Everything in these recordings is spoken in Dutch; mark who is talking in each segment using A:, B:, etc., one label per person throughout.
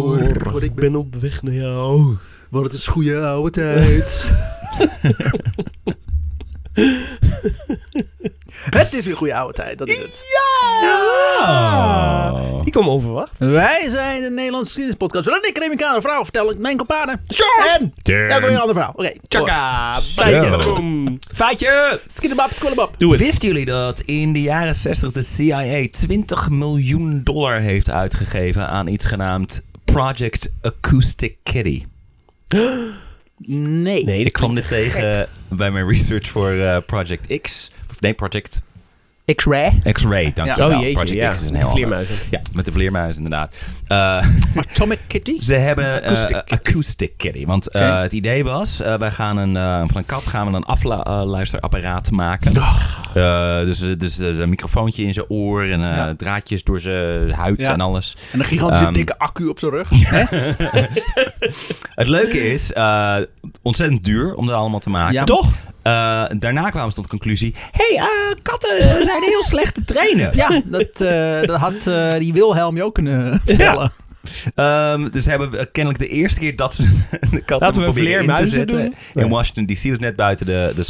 A: door, want ik ben...
B: op weg naar jou.
A: Want het is goede oude tijd. het is weer goede oude tijd, dat is het.
B: Ja! Ik kwam onverwacht.
A: Wij zijn de Nederlandse geschiedenispodcast. Waarin ik Remy Kader verhaal vertel ik mijn kompanen. En elke weer een ander verhaal. Oké, okay,
C: Tjaka,
B: Feitje.
C: feitje. Feitje.
A: skidabab, squillabab.
B: Doe het.
C: Wisten jullie dat in de jaren 60 de CIA 20 miljoen dollar heeft uitgegeven aan iets genaamd Project Acoustic Kitty?
A: Nee.
C: Ik kwam dit tegen bij mijn research voor eh, Project X. Of nee, Project
A: X-ray.
C: X-Ray, dankjewel.
B: Oh jeetje,
C: Project
B: ja.
C: X is een heel ander.
B: Vleermuizen.
C: Ja, met de vleermuis inderdaad. Eh,
A: Atomic Kitty.
C: Ze hebben eh,
A: Acoustic
C: acoustic, kitty. Want eh,
A: Oké.
C: het idee was, eh, wij gaan een, eh, van een kat gaan we een afluisterapparaat maken. Eh, dus eh, dus eh, een microfoontje in zijn oor en eh,
A: Ja.
C: draadjes door zijn huid
A: Ja.
C: en alles.
A: En een gigantische
C: Ehm,
A: dikke accu op zijn rug.
C: Het leuke is, eh, ontzettend duur om dat allemaal te maken.
A: Ja.
C: Toch? Eh, daarna kwamen ze tot de conclusie, hey, eh, katten eh, zijn heel slecht te trainen.
A: Ja, dat, eh, dat had eh, die Wilhelm je ook kunnen vertellen.
C: Ehm, dus hebben we kennelijk de eerste keer dat ze de kat
B: Laten
C: hebben
B: we
C: proberen in te
B: vleermuizen
C: zetten.
B: doen. Nee.
C: In Washington D.C. was net buiten de, eh, de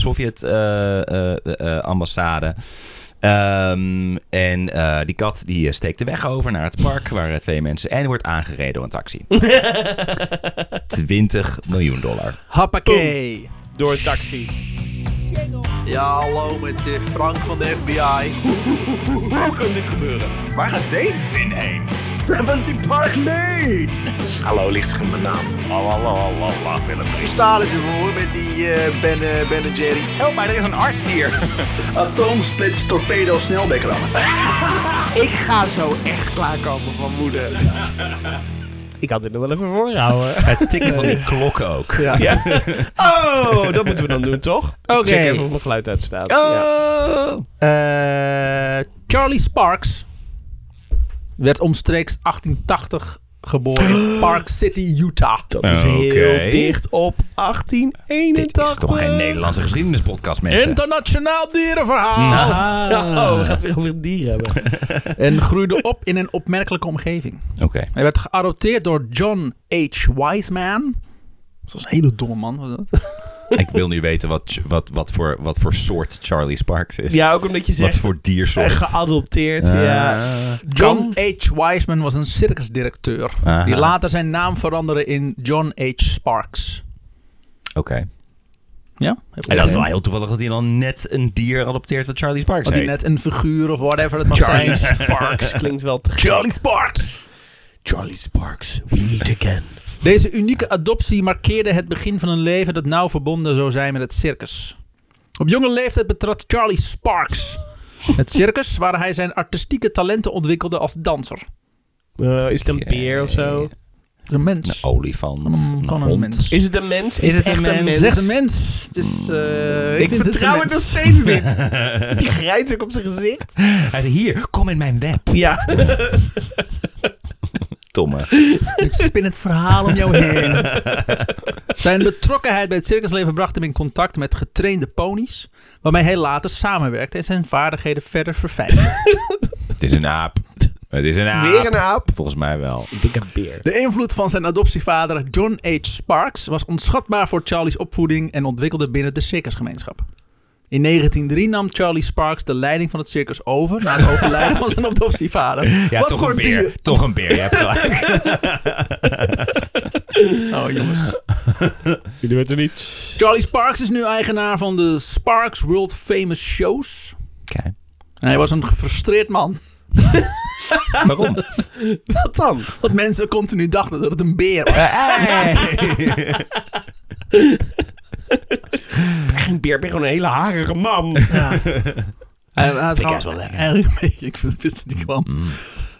C: Sovjet-ambassade. en eh, die kat die eh, steekt de weg over naar het park waar eh, twee mensen... en wordt aangereden door een taxi. 20 miljoen dollar.
A: Hoppakee.
B: Door een taxi.
A: Ja, hallo met eh, Frank van de FBI.
D: Hoe kan dit gebeuren? Waar gaat deze zin heen? 70 Park Lane! Hallo, licht is mijn naam. Lalalala, Willem Dries.
A: Staat het ervoor dus met die eh ben, eh, ben en Jerry?
D: Help mij, er is een arts hier.
A: Atomsplits torpedo sneldekramen.
D: Ik ga zo echt klaarkomen van moeder.
B: Ik had dit nog wel even voorhouden.
C: Het tikken van die klok ook.
B: Ja. Oh, dat moeten we dan doen, toch? Oké. even of mijn geluid uitstaat.
C: Oh!
B: Ja.
A: Eh, Charlie Sparks werd omstreeks 1880 geboren in Park City, Utah.
B: Dat is
C: Oké.
B: heel dicht op 1881.
C: Dit is toch geen Nederlandse geschiedenispodcast, mensen? Nou.
A: Internationaal dierenverhaal.
B: Oh, we gaan het weer over dieren hebben.
A: En groeide op in een opmerkelijke omgeving.
C: Oké.
A: Hij werd geadopteerd door John H. Wiseman. Dat was een hele domme man. Was dat?
C: Ik wil nu weten wat, wat, wat, voor, wat voor soort Charlie Sparks is.
B: Ja, ook omdat je
C: Wat
B: zegt...
C: voor diersoort?
B: eh, Geadopteerd, ja.
A: John H. Wiseman was een circusdirecteur.
C: Aha.
A: Die later zijn naam veranderde in John H. Sparks.
C: Oké.
A: Ja?
C: En dat is wel heel toevallig dat hij dan net een dier adopteert wat Charlie Sparks
A: Had hij
C: heet.
A: net een figuur of whatever het mag
B: Charlie
A: zijn.
B: Sparks klinkt wel te
A: Charlie Sparks!
B: Charlie Sparks, we meet again.
A: Deze unieke adoptie markeerde het begin van een leven dat nauw verbonden zou zijn met het circus. Op jonge leeftijd betrad Charlie Sparks het circus, waar hij zijn artistieke talenten ontwikkelde als danser.
B: Eh, is het een beer of zo?
A: Het is een mens.
C: Een olifant.
A: Mm,
C: Nou, oh, Een,
A: gewoon een
C: hond.
A: mens.
B: Is het een mens?
C: Is het
B: echt
C: een mens?
A: Het is echt een mens. Het is, eh,
B: Ik
A: vind
B: vertrouw het
A: een
B: nog
A: mens.
B: steeds niet. Die grijns ook op zijn gezicht.
C: Hij zei, hier, kom in mijn web.
B: Ja.
C: Tomme.
A: Ik spin het verhaal om jou heen. Zijn betrokkenheid bij het circusleven bracht hem in contact met getrainde ponies, waarmee hij later samenwerkte en zijn vaardigheden verder verfijnde.
C: Het is een aap. Het is een aap.
B: Weer een aap.
C: Volgens mij wel.
B: Ik denk een beer.
A: De invloed van zijn adoptievader John H. Sparks was onschatbaar voor Charlie's opvoeding en ontwikkelde binnen de circusgemeenschap. In 1903 nam Charlie Sparks de leiding van het circus over na het overlijden van zijn adoptievader.
C: Ja,
A: Wat
C: toch
A: voor
C: een beer.
A: dier?
C: Toch een beer, je hebt gelijk.
A: Oh jongens.
B: Jullie weten niet.
A: Charlie Sparks is nu eigenaar van de Sparks World Famous Shows.
C: Oké.
A: En hij was een gefrustreerd man.
C: Waarom?
B: Wat dan?
A: Dat mensen continu dachten dat het een beer was.
C: Eh,
B: Echt een beer. Ik ben gewoon een hele harige man.
A: Hij- hij had
C: Vind ik
A: gewoon-
C: juist wel lekker.
A: Eigenlijk een beetje. Ik wist dat die kwam.
C: Mm,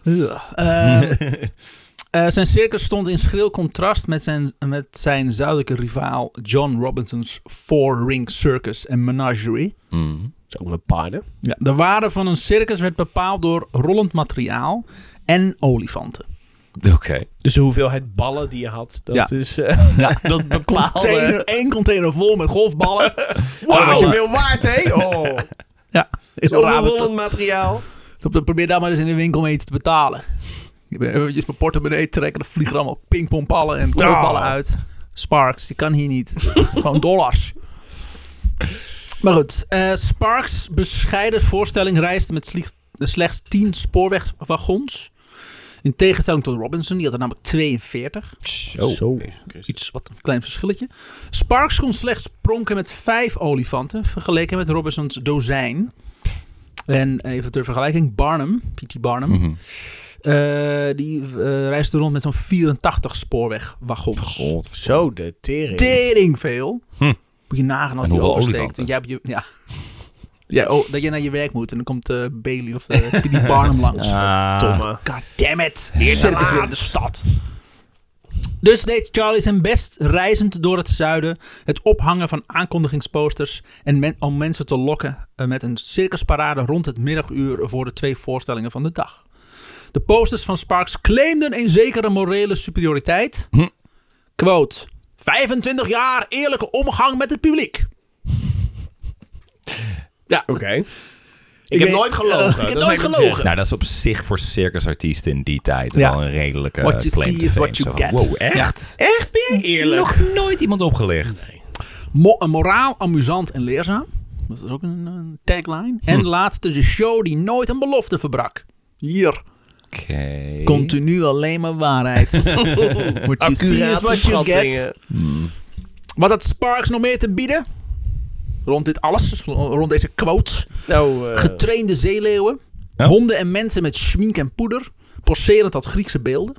A: Ugh. Ehm, eh, zijn circus stond in schril contrast met zijn, met zijn zuidelijke rivaal John Robinson's Four Ring Circus en Menagerie.
C: Mm.
B: Zo met paarden.
A: Ja. De waarde van een circus werd bepaald door rollend materiaal en olifanten.
C: Oké.
B: Dus de hoeveelheid ballen die je had, dat
A: Ja.
B: is eh dat bepaalde...
A: Container, één container vol met golfballen.
B: Wow,
A: Wauw.
B: je veel waard, hè? Oh,
A: Ja, heel
B: zo'n
A: raar.
B: rollend materiaal.
A: Dus Probeer daar maar eens in de winkel mee iets te betalen. Ik ben eventjes mijn portemonnee trekken. Dan vliegen er allemaal pingpongballen en golfballen
B: Oh.
A: uit. Sparks, die kan hier niet. Het is gewoon dollars. Maar goed, eh, Sparks bescheiden voorstelling reisde met slie- slechts 10 spoorwegwagons. In tegenstelling tot Robinson, die had er namelijk 42.
B: Zo.
A: Iets wat een klein verschilletje. Sparks kon slechts pronken met vijf olifanten, vergeleken met Robinson's dozijn. En even ter vergelijking, Barnum, P.T. Barnum,
C: Mhm.
A: eh, die eh, reisde rond met zo'n 84 spoorwegwagons.
B: Zo, de tering.
A: Tering veel.
C: Hm.
A: Moet je nagaan als
C: En
A: die
C: hoeveel
A: oversteekt.
C: olifanten?
A: Jij hebt je, ja. Ja, oh, dat je naar je werk moet en dan komt eh, Bailey of eh, P.T. Barnum langs.
C: Ah.
B: Thomas.
A: God damn it. Hier circus weer in de stad. Dus deed Charlie zijn best reizend door het zuiden. Het ophangen van aankondigingsposters. En men- om mensen te lokken eh, met een circusparade rond het middaguur voor de twee voorstellingen van de dag. De posters van Sparks claimden een zekere morele superioriteit.
C: Hm.
A: Quote. 25 jaar eerlijke omgang met het publiek. Ja,
B: Oké. Ik,
A: Ik
B: heb
A: weet-
B: nooit gelogen.
A: Eh, ik heb
B: dat
A: nooit
B: wil
A: gelogen.
B: zeggen.
C: Nou, dat is op zich voor circusartiesten in die tijd
A: Ja.
C: wel een redelijke
A: What you
C: claim
A: see
C: to
A: is
C: fame.
A: what you
C: Zo van,
A: get.
C: Wow, echt?
B: Echt? Ben jij eerlijk?
C: Nog nooit iemand opgelicht.
A: Mo- eh, moraal, amusant en leerzaam. Dat is ook een, een tagline. En
C: Hm.
A: laatste, de show die nooit een belofte verbrak. Hier.
C: Oké.
A: Continu alleen maar waarheid. What you see is what you get.
B: Schattingen.
A: Wat had Sparks nog meer te bieden? Rond dit alles, rond deze quotes.
B: Nou, eh,
A: Getrainde zeeleeuwen.
C: Ja.
A: Honden en mensen met schmink en poeder. Poserend als Griekse beelden.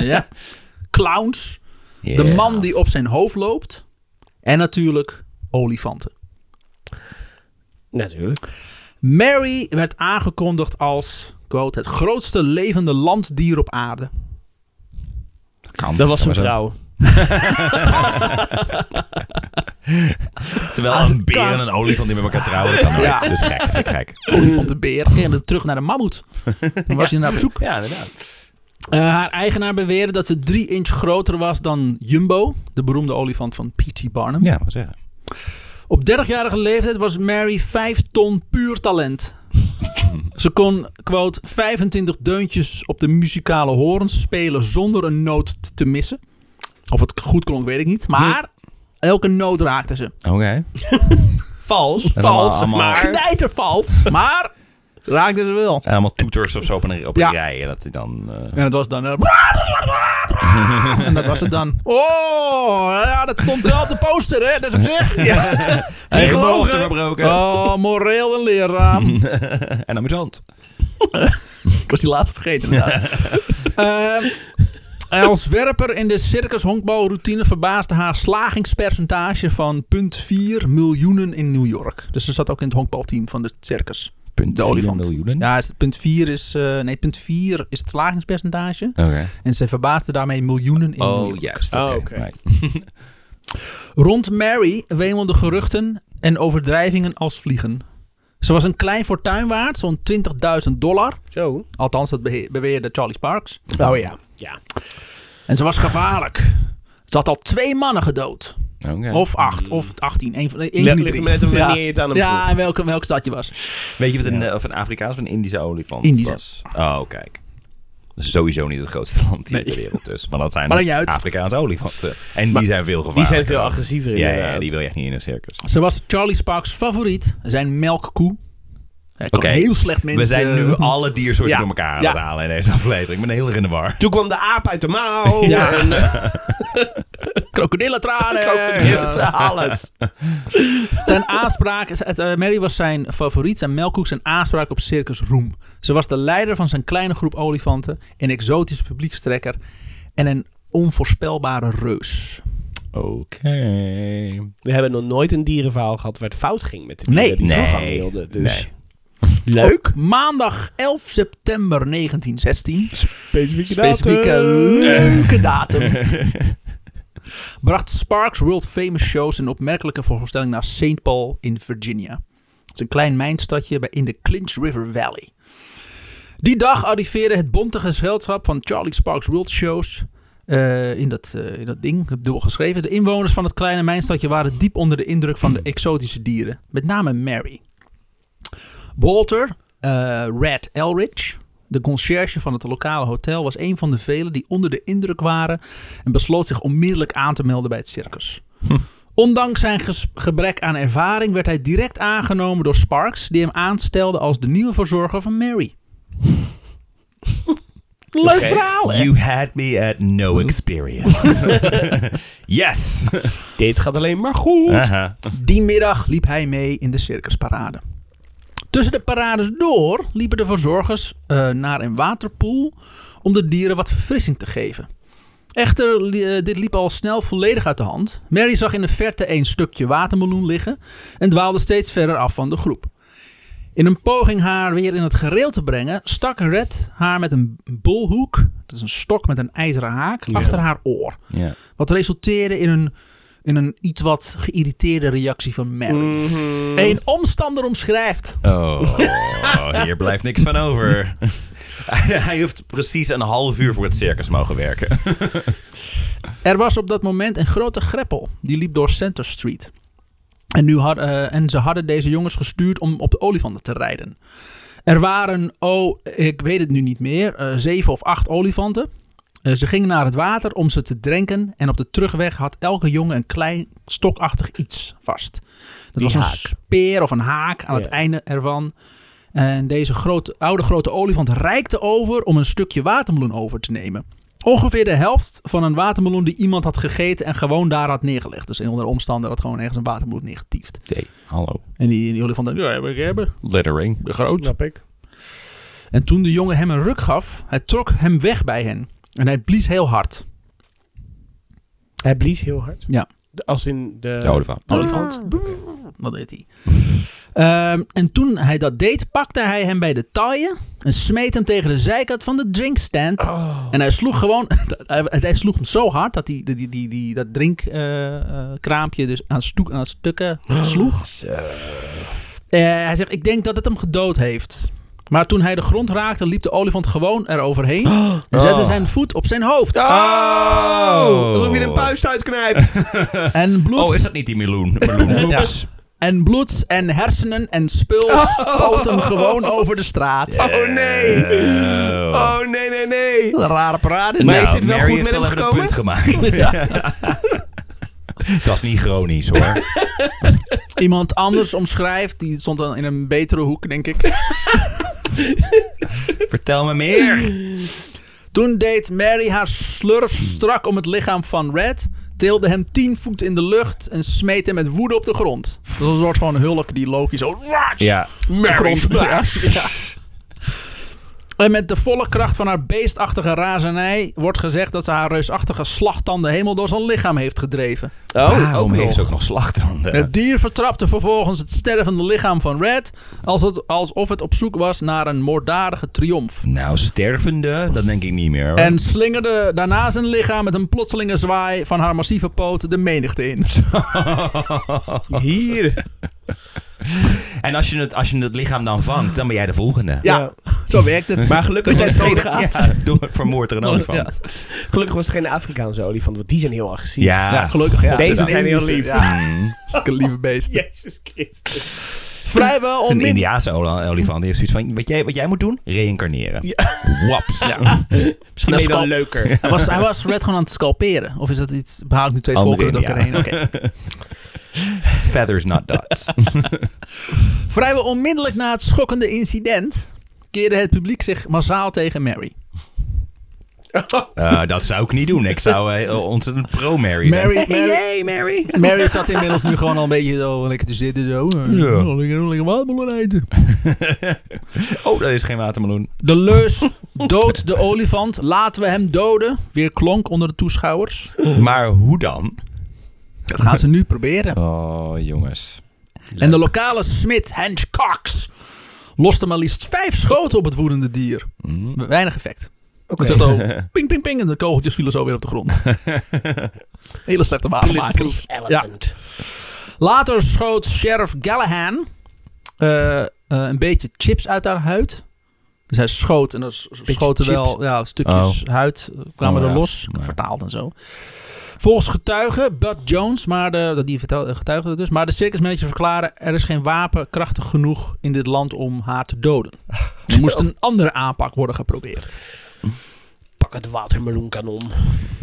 A: ja. Clowns.
C: Yeah.
A: De man die op zijn hoofd loopt. En natuurlijk olifanten.
B: natuurlijk.
A: Mary werd aangekondigd als, quote, het grootste levende landdier op aarde.
C: Kan.
B: Dat was een
C: Maar zo-
B: vrouw.
C: Terwijl
A: Ah,
C: een beer
A: kan.
C: en een olifant die met elkaar trouwen, dat kan nooit.
A: Ja.
C: Dat is gek, vind ik gek.
A: Olifant de beer. En dan terug naar de mammoet. Dan was je naar op zoek.
C: Ja, inderdaad.
A: Eh, haar eigenaar beweerde dat ze drie inch groter was dan Jumbo, de beroemde olifant van P.T. Barnum.
C: Ja, wat zeggen.
A: Op 30-jarige leeftijd was Mary 5 ton puur talent. Ze kon, quote, 25 deuntjes op de muzikale horens spelen zonder een noot t- te missen. Of het goed klonk, weet ik niet. Maar elke noot raakte ze.
C: Oké.
B: Vals.
C: En
B: Vals,
C: allemaal-
B: maar...
C: allemaal-
A: knijtervals. Maar ze raakten er wel.
C: En allemaal toeters of zo op een, op een
A: Ja.
C: rij. En dat hij dan... eh,
A: En dat was dan... eh, en dat was het dan. Oh, ja, dat stond wel op de poster, hè? Dat is op zich. Ja.
C: Geen
A: gelogen.
C: belofte verbroken.
A: Oh, moreel en leerzaam.
C: en amusant.
A: Ik was die laatste vergeten, inderdaad. Ehm, als werper in de circus-honkbalroutine verbaasde haar slagingspercentage van 0,4 miljoenen in New York. Dus ze zat ook in het honkbalteam van de circus.
C: Punt
A: De
C: vier
A: olifant.
C: miljoenen.
A: Ja, is- punt 4 is, eh, nee, punt 4 is het slagingspercentage.
C: Oké.
A: En ze verbaasde daarmee miljoenen in New
C: Oh,
A: York.
C: juist.
B: Oh,
C: Oké.
B: oké.
C: Right.
A: Rond Mary wemelden geruchten en overdrijvingen als vliegen. Ze was een klein fortuin waard, zo'n 20.000 dollar.
B: Zo.
A: Althans, dat behe- beweerde Charlie Sparks.
B: Oh ja. Ja.
A: En ze was gevaarlijk. Ze had al twee mannen gedood.
C: Oké.
A: Of acht, of achttien. Een van de één
B: Ligt-
A: van die
B: ligt er
A: drie.
B: maar net aan wanneer
A: ja.
B: je het aan hem
A: Ja,
B: vroeg.
A: en welke, welk stad je was.
C: Weet je wat een, eh, of een Afrikaans of een Indische olifant
A: Indische.
C: was? Oh, kijk. Dat is sowieso niet het grootste land hier
A: Nee.
C: ter wereld dus. Maar dat zijn
A: Maar dan juist.
C: Afrikaanse olifanten. En die zijn veel
B: Die
C: gevaarlijker.
B: zijn veel agressiever
C: Ja,
B: inderdaad.
C: ja, ja, die wil je echt niet in een circus.
A: Ze was Charlie Sparks' favoriet. Zijn melkkoe. Hij kon
C: Oké.
A: heel slecht mensen... eh,
C: We zijn nu alle diersoorten
B: Ja.
C: door elkaar aan
A: Ja.
C: het halen in deze aflevering. Ik ben heel erg in de war.
B: Toen kwam de aap uit de mouw.
A: Ja.
B: En, eh,
A: krokodillentranen.
B: krokodillen, alles.
A: Zijn aanspraak, het, eh, Mary was zijn favoriet, zijn melkkoek, zijn aanspraak op Circus Roem. Ze was de leider van zijn kleine groep olifanten, een exotische publiekstrekker en een onvoorspelbare reus.
C: Oké.
B: We hebben nog nooit een dierenverhaal gehad waar het fout ging met de
A: Nee.
B: dieren die ze
C: Nee.
B: vangen wilden. Dus
C: Nee.
A: Leuk. Maandag 11 september 1916.
B: specifieke
A: Specifieke
B: datum.
A: leuke datum. bracht Sparks World Famous Shows een opmerkelijke voorstelling naar St. Paul in Virginia. Het is een klein mijnstadje bij- in de Clinch River Valley. Die dag arriveerde het bonte gezelschap van Charlie Sparks World Shows eh, in, dat, eh, in dat ding. Ik heb dubbel geschreven. De inwoners van het kleine mijnstadje waren diep onder de indruk van de exotische dieren. Met name Mary. Walter, eh, Red Elridge, De conciërge van het lokale hotel was een van de velen die onder de indruk waren en besloot zich onmiddellijk aan te melden bij het circus. Ondanks zijn ges- gebrek aan ervaring werd hij direct aangenomen door Sparks, die hem aanstelde als de nieuwe verzorger van Mary. Leuk verhaal, hè?
C: You had me at no experience. yes!
B: Dit gaat alleen maar goed.
C: Aha.
A: Die middag liep hij mee in de circusparade. Tussen de parades door liepen de verzorgers eh, naar een waterpoel om de dieren wat verfrissing te geven. Echter, li- eh, dit liep al snel volledig uit de hand. Mary zag in de verte een stukje watermeloen liggen en dwaalde steeds verder af van de groep. In een poging haar weer in het gereel te brengen, stak Red haar met een bolhoek, dat is een stok met een ijzeren haak,
B: Ja.
A: achter haar oor.
C: Ja.
A: Wat resulteerde in een, in een iets wat geïrriteerde reactie van Mary.
B: Mm. Mhm.
A: Een omstander omschrijft.
C: Oh, hier blijft niks van over. Hij heeft precies een half uur voor het circus mogen werken.
A: Er was op dat moment een grote greppel. Die liep door Center Street. En, nu had, eh, en ze hadden deze jongens gestuurd om op de olifanten te rijden. Er waren, oh, ik weet het nu niet meer, eh, zeven of acht olifanten. Eh, ze gingen naar het water om ze te drinken. En op de terugweg had elke jongen een klein stokachtig iets vast. Dat was
B: haak.
A: een speer of een haak aan
B: Ja.
A: het einde ervan. En deze grote, oude grote olifant reikte over om een stukje watermeloen over te nemen. Ongeveer de helft van een watermeloen die iemand had gegeten en gewoon daar had neergelegd. Dus een onder omstander had gewoon ergens een watermeloen neergetiefd.
C: Nee, hallo.
A: En die, die olifant dacht, ja, heb ik hebben.
C: Lettering.
B: Groot. Snap ik.
A: En toen de jongen hem een ruk gaf, hij trok hem weg bij hen. En hij blies heel hard.
B: Hij blies heel hard.
A: Ja.
B: De- Als in de...
C: De olifant.
A: Olifant. Nou, Wat deed hij? Ehm, en toen hij dat deed, pakte hij hem bij de taaien en smeet hem tegen de zijkant van de drinkstand.
B: Oh.
A: En hij sloeg gewoon, hij, hij sloeg hem zo hard dat hij die, die, die, die, dat drinkkraampje dus aan, stoe- aan stukken sloeg. Eh, hij zegt, ik denk dat het hem gedood heeft. Maar toen hij de grond raakte, liep de olifant gewoon eroverheen en zette
C: Oh.
A: zijn voet op zijn hoofd.
C: Oh.
B: Alsof je een puist uitknijpt.
A: En bloed,
C: Oh, is dat niet die meloen? Meloen.
A: Ja. en bloed en hersenen en spul spoot hem gewoon over de straat.
B: Oh nee.
C: Eh.
B: Oh nee, nee, nee.
A: Wat een rare parade. is
B: Maar
A: dit.
B: is het wel
C: nou, Mary
B: goed
C: heeft
B: met hem
C: wel even een
B: gekomen?
C: punt gemaakt. Het was niet chronisch hoor.
A: Iemand anders omschrijft, die stond dan in een betere hoek, denk ik.
C: Vertel me meer.
A: Toen deed Mary haar slurf strak om het lichaam van Red, tilde hem tien voet in de lucht en smeet hem met woede op de grond. Dat was een soort van hulk die Loki zo
C: Ja.
A: de grond Ja. En met de volle kracht van haar beestachtige razernij wordt gezegd dat ze haar reusachtige slagtanden helemaal door zijn lichaam heeft gedreven.
B: Oh,
C: Waarom
B: ook
C: heeft
B: nog.
C: ze ook nog slachtanden?
A: Het dier vertrapte vervolgens het stervende lichaam van Red als het- alsof het op zoek was naar een moorddadige triomf.
C: Nou, stervende, dat denk ik niet meer.
B: Oh.
C: Hoor.
A: En slingerde daarna zijn lichaam met een plotselinge zwaai van haar massieve poot de menigte in.
B: Hier.
C: En als je, het, als je het lichaam dan vangt, dan ben jij de volgende.
A: Ja, zo werkt het.
B: Maar gelukkig
A: Dat
B: was,
A: jij
B: het
A: dood
B: geen,
A: gaat.
C: Ja, door, vermoord door een
A: Ja.
C: olifant.
B: gelukkig was het geen Afrikaanse olifant, want die zijn heel agressief.
C: Ja.
A: Ja, gelukkig. Ja. Het
B: Deze
A: is een
B: zijn heel
A: Indische,
B: lief.
A: Ja,
C: Mm. Het
A: zulke lieve beesten.
B: Jezus Christus.
A: Vrijwel
C: is een
A: onmin-
C: Indiaanse ola- olifant. Die heeft zoiets van, wat jij, wat jij moet doen? Reïncarneren. Waps.
B: Misschien
A: Dat
B: ben
A: is
B: je dan
A: wel-
B: leuker.
A: Hij was, hij was Red gewoon aan het scalperen. Of is dat iets... Behaal ik nu twee
C: Andere
A: volkeren door elkaar heen?
C: Indianen.
A: Oké.
C: Feathers, not dots.
A: Vrijwel onmiddellijk na het schokkende incident... keerde het publiek zich massaal tegen Mary.
B: Oh,
C: Eh, dat zou ik niet doen. Ik zou eh, ontzettend pro-Mary zijn.
A: Mary, Mary,
B: Hey, Mary.
A: Mary zat inmiddels nu gewoon al een beetje zo lekker te zitten. Zo.
C: Ja.
A: Oh, lekker, lekker watermeloen eten.
C: Oh, dat is geen watermeloen.
A: De leus dood de olifant. Laten we hem doden. Weer klonk onder de toeschouwers.
C: Maar hoe dan?
A: Dat gaan ze nu proberen.
C: Oh, jongens.
A: En de lokale smid, Hans Cox, loste maar liefst vijf schoten op het woedende dier.
C: Mm.
A: We- Weinig effect.
B: Oké.
A: Het zat al ping, ping, ping en de kogeltjes vielen zo weer op de grond. Hele slechte wapenmakers. Ja.
B: Elephant.
A: Later schoot sheriff Gallahan eh, eh, een beetje chips uit haar huid. Dus hij schoot en er s- schoten
C: chips.
A: wel ja, stukjes huid eh, kwamen
C: Oh,
A: er
C: ja.
A: los.
C: Ja.
A: Vertaald en zo. Volgens getuigen, Bud Jones, maar de, dat die vertel- eh, getuigde het dus, maar de circusmanager verklaren er is geen wapen krachtig genoeg in dit land om haar te doden. Er moest een andere aanpak worden geprobeerd.
B: Pak het watermeloenkanon.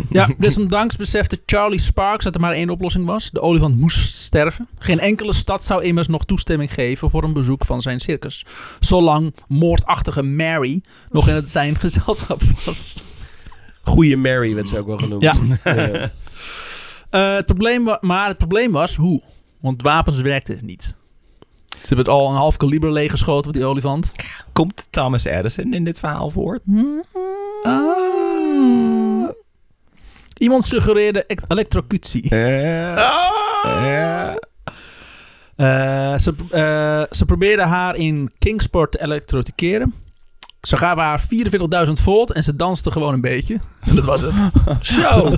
A: Ja, desondanks besefte Charlie Sparks dat er maar één oplossing was. De olifant moest sterven. Geen enkele stad zou immers nog toestemming geven voor een bezoek van zijn circus. Zolang moordachtige Mary nog in het zijn gezelschap was.
B: Goeie Mary werd ze ook wel genoemd.
A: Ja.
B: Ja.
A: Eh, het probleem wa- maar het probleem was hoe. Want wapens werkten niet. Ze hebben het al een half kaliber leeggeschoten met die olifant.
C: Komt Thomas Edison in dit verhaal voor? Ah.
A: Iemand suggereerde ec- elektrocutie.
C: Eh.
A: Ah.
C: Ja.
A: Eh, ze, eh, ze probeerden haar in Kingsport te elektrotikeren. Ze gaven haar 44.000 volt en ze danste gewoon een beetje. En dat was het. Zo!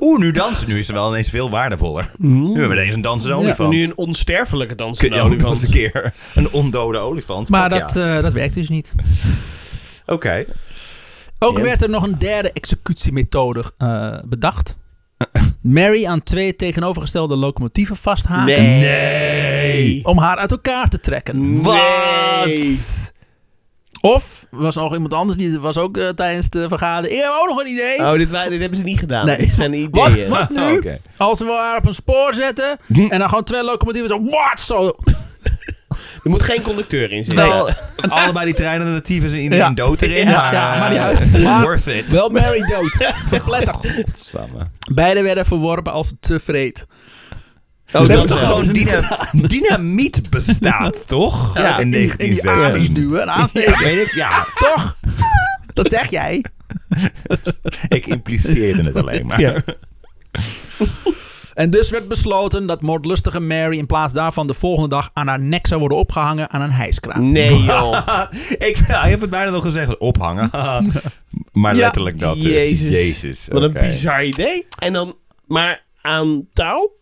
C: Oeh, nu dansen. Nu is ze wel ineens veel waardevoller. Nu hebben we ineens een dansende
A: Ja,
C: olifant.
B: Nu een onsterfelijke dans
C: Kun je
B: van
C: ook nog
B: olifant.
C: eens een keer een ondode olifant.
A: Maar
C: Fuck
A: dat,
C: ja.
A: eh, dat werkte dus niet.
C: Oké.
A: Ook
C: Ja.
A: werd er nog een derde executiemethode eh, bedacht. Mary aan twee tegenovergestelde locomotieven vasthaken.
B: Nee.
A: Om haar uit elkaar te trekken.
B: Wat?
A: Of, er was nog iemand anders, die was ook eh, tijdens de vergadering. Ik heb ook nog een idee.
B: Oh, dit, wa- dit hebben ze niet gedaan.
A: Nee.
B: Dit zijn
A: wat,
B: ideeën.
A: wat nu?
C: Oké.
A: Als we haar op een spoor zetten en dan gewoon twee locomotieven zo... Wat? Zo.
B: Er moet geen conducteur in zitten.
C: Wel, allebei die treinen de tyfus in iedereen
A: Ja.
C: dood erin.
A: Ja,
C: maar,
A: ja,
C: eh,
A: maar niet uit. Maar-
C: Worth it.
A: Wel Mary dood. Verpletterd.
C: Samen.
A: Beide werden verworpen als te vreed.
B: Oh,
C: Ze
A: dat
C: hebben
B: dat
A: is
C: toch
A: wel.
B: wel.
C: gewoon dyna- dynamiet bestaat, toch?
B: Ja,
C: in
A: In die, in die aardes
C: 1916.
A: duwen en aansteken.
C: Weet ik, ja,
A: Toch? Dat zeg jij.
C: ik impliceerde het alleen maar.
A: Ja. En dus werd besloten dat moordlustige Mary in plaats daarvan de volgende dag aan haar nek zou worden opgehangen aan een hijskraan.
B: Nee, joh.
C: ik, ja, je hebt het bijna nog gezegd, ophangen. maar
A: Ja.
C: letterlijk dat dus.
B: Jezus. Wat
C: oké.
B: een bizar idee. En dan maar aan touw?